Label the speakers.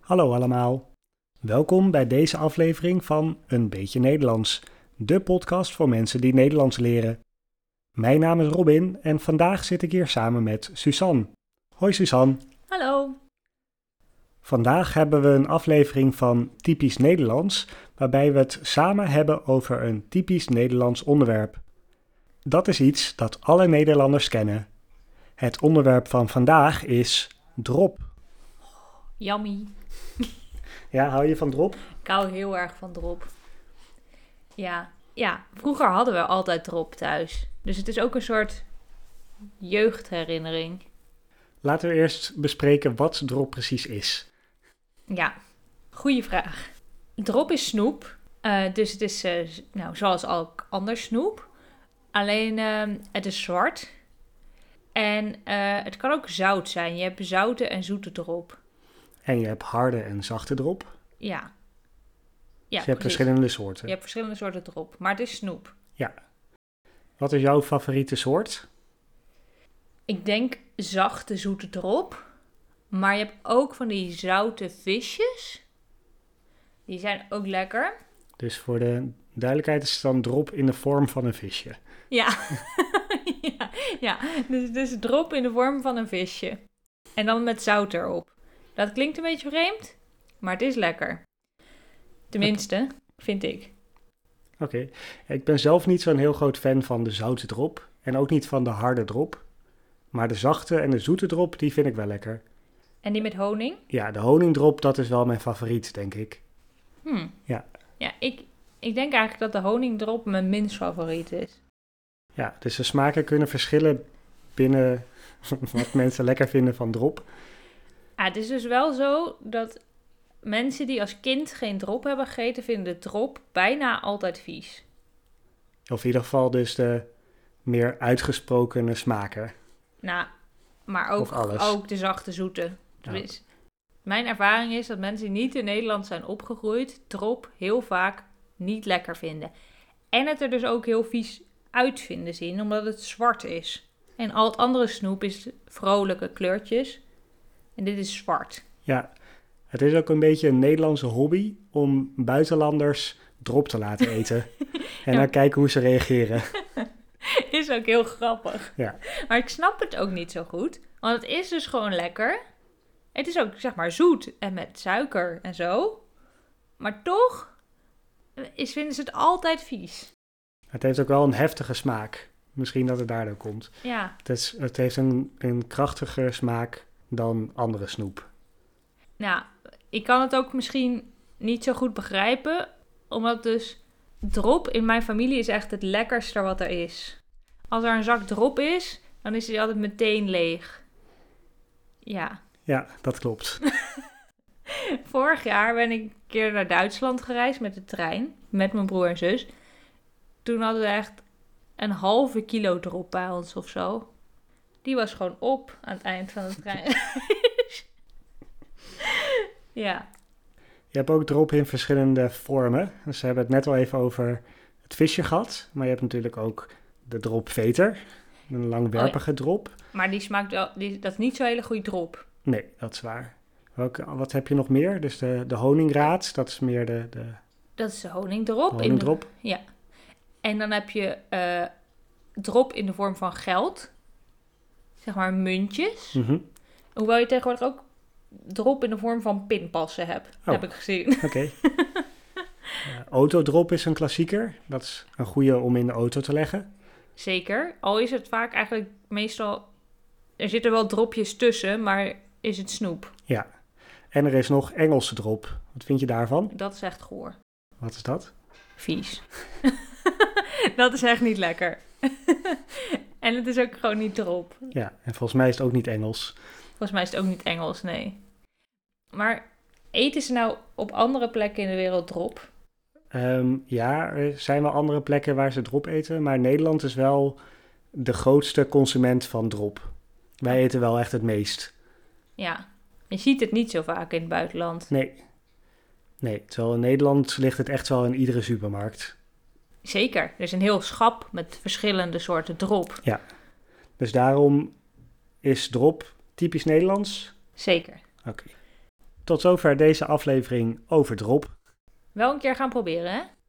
Speaker 1: Hallo allemaal. Welkom bij deze aflevering van Een Beetje Nederlands, de podcast voor mensen die Nederlands leren. Mijn naam is Robin en vandaag zit ik hier samen met Suzanne. Hoi Suzanne.
Speaker 2: Hallo.
Speaker 1: Vandaag hebben we een aflevering van Typisch Nederlands, waarbij we het samen hebben over een typisch Nederlands onderwerp. Dat is iets dat alle Nederlanders kennen. Het onderwerp van vandaag is drop.
Speaker 2: Yummy.
Speaker 1: Ja, hou je van drop?
Speaker 2: Ik hou heel erg van drop. Ja. ja, vroeger hadden we altijd drop thuis. Dus het is ook een soort jeugdherinnering.
Speaker 1: Laten we eerst bespreken wat drop precies is.
Speaker 2: Ja, goede vraag. Drop is snoep. Eh, dus het is eh, z- nou, zoals elk ander snoep. Alleen ehm, het is zwart. En eh, het kan ook zout zijn. Je hebt zoute en zoete drop.
Speaker 1: En je hebt harde en zachte drop. dus
Speaker 2: Ja. ja
Speaker 1: je hebt
Speaker 2: precies.
Speaker 1: verschillende soorten.
Speaker 2: Je hebt verschillende soorten drop. Maar het is snoep.
Speaker 1: Wat is jouw favoriete soort?
Speaker 2: Ik denk zachte, zoete drop. Maar je hebt ook van die zoute visjes. Die zijn ook lekker.
Speaker 1: Dus voor de duidelijkheid is het dan drop in de vorm van een visje.
Speaker 2: Ja. ja, ja. Dus, dus drop in de vorm van een visje. En dan met zout erop. Dat klinkt een beetje vreemd, maar het is lekker. Tenminste, vind ik.
Speaker 1: Oké. Ik ben zelf niet zo'n heel groot fan van de zoute drop. En ook niet van de harde drop. Maar de zachte en de zoete drop, die vind ik wel lekker.
Speaker 2: En die met honing?
Speaker 1: Ja, de honingdrop, dat is wel mijn favoriet, denk ik.
Speaker 2: Hm.
Speaker 1: Ja.
Speaker 2: Ja, ik, ik denk eigenlijk dat de honingdrop mijn minst favoriet is.
Speaker 1: Ja, dus de smaken kunnen verschillen binnen wat mensen lekker vinden van drop.
Speaker 2: Ja, het is dus wel zo dat mensen die als kind geen drop hebben gegeten, vinden de drop bijna altijd vies.
Speaker 1: Of in ieder geval dus de meer uitgesprokene smaken.
Speaker 2: Nou, maar
Speaker 1: Of
Speaker 2: ook,
Speaker 1: alles.
Speaker 2: ook de zachte zoete. Dus mijn ervaring is dat mensen die niet in Nederland zijn opgegroeid, drop heel vaak niet lekker vinden. En het er dus ook heel vies uit vinden zien, omdat het zwart is. En al het andere snoep is vrolijke kleurtjes. En dit is zwart.
Speaker 1: Ja, het is ook een beetje een Nederlandse hobby om buitenlanders drop te laten eten. en
Speaker 2: Ja.
Speaker 1: dan kijken hoe ze reageren.
Speaker 2: Is ook heel grappig.
Speaker 1: Ja.
Speaker 2: Maar ik snap het ook niet zo goed. Want het is dus gewoon lekker. Het is ook zeg maar zoet en met suiker en zo. Maar toch is, vinden ze het altijd vies.
Speaker 1: Het heeft ook wel een heftige smaak. Misschien dat het daardoor komt.
Speaker 2: Ja.
Speaker 1: Het, is, het heeft een, een krachtiger smaak dan andere snoep.
Speaker 2: Nou, ik kan het ook misschien niet zo goed begrijpen. Omdat dus drop in mijn familie is echt het lekkerste wat er is. Als er een zak drop is, dan is die altijd meteen leeg. Ja.
Speaker 1: Ja, dat klopt.
Speaker 2: Vorig jaar ben ik een keer naar Duitsland gereisd met de trein. Met mijn broer en zus. Toen hadden we echt een halve kilo erop bij ons of zo. Die was gewoon op aan het eind van de trein. ja.
Speaker 1: Je hebt ook drop in verschillende vormen. Dus we hebben het net al even over het visje gehad. Maar je hebt natuurlijk ook de dropveter. Een langwerpige drop.
Speaker 2: Maar die smaakt wel... Die, dat is niet zo'n hele goede drop.
Speaker 1: Nee, dat is waar. Welke, wat heb je nog meer? Dus de, de honingraad, dat is meer de, de
Speaker 2: Dat is de honingdrop. in de-
Speaker 1: honingdrop.
Speaker 2: En dan heb je eh, drop in de vorm van geld. Zeg maar muntjes.
Speaker 1: Mhm.
Speaker 2: Hoewel je tegenwoordig ook drop in de vorm van pinpassen hebt.
Speaker 1: Oh.
Speaker 2: Heb ik gezien.
Speaker 1: Oké. Eh, autodrop is een klassieker. Dat is een goede om in de auto te leggen.
Speaker 2: Zeker. Al is het vaak eigenlijk meestal. Er zitten wel dropjes tussen, maar is het snoep?
Speaker 1: En er is nog Engelse drop. Wat vind je daarvan?
Speaker 2: Dat is echt goor.
Speaker 1: Wat is dat?
Speaker 2: Vies. dat is echt niet lekker. en het is ook gewoon niet drop.
Speaker 1: Ja, en volgens mij is het ook niet Engels.
Speaker 2: Volgens mij is het ook niet Engels, nee. Maar eten ze nou op andere plekken in de wereld drop?
Speaker 1: Ehm, ja, er zijn wel andere plekken waar ze drop eten. Maar Nederland is wel de grootste consument van drop. Wij eten wel echt het meest.
Speaker 2: Ja. Je ziet het niet zo vaak in het buitenland.
Speaker 1: Nee. Nee, terwijl in Nederland ligt het echt wel in iedere supermarkt.
Speaker 2: Zeker. Er is een heel schap met verschillende soorten drop.
Speaker 1: Dus daarom is drop typisch Nederlands.
Speaker 2: Zeker.
Speaker 1: Oké.
Speaker 3: Tot zover deze aflevering over drop.
Speaker 1: Wel een keer gaan proberen, hè?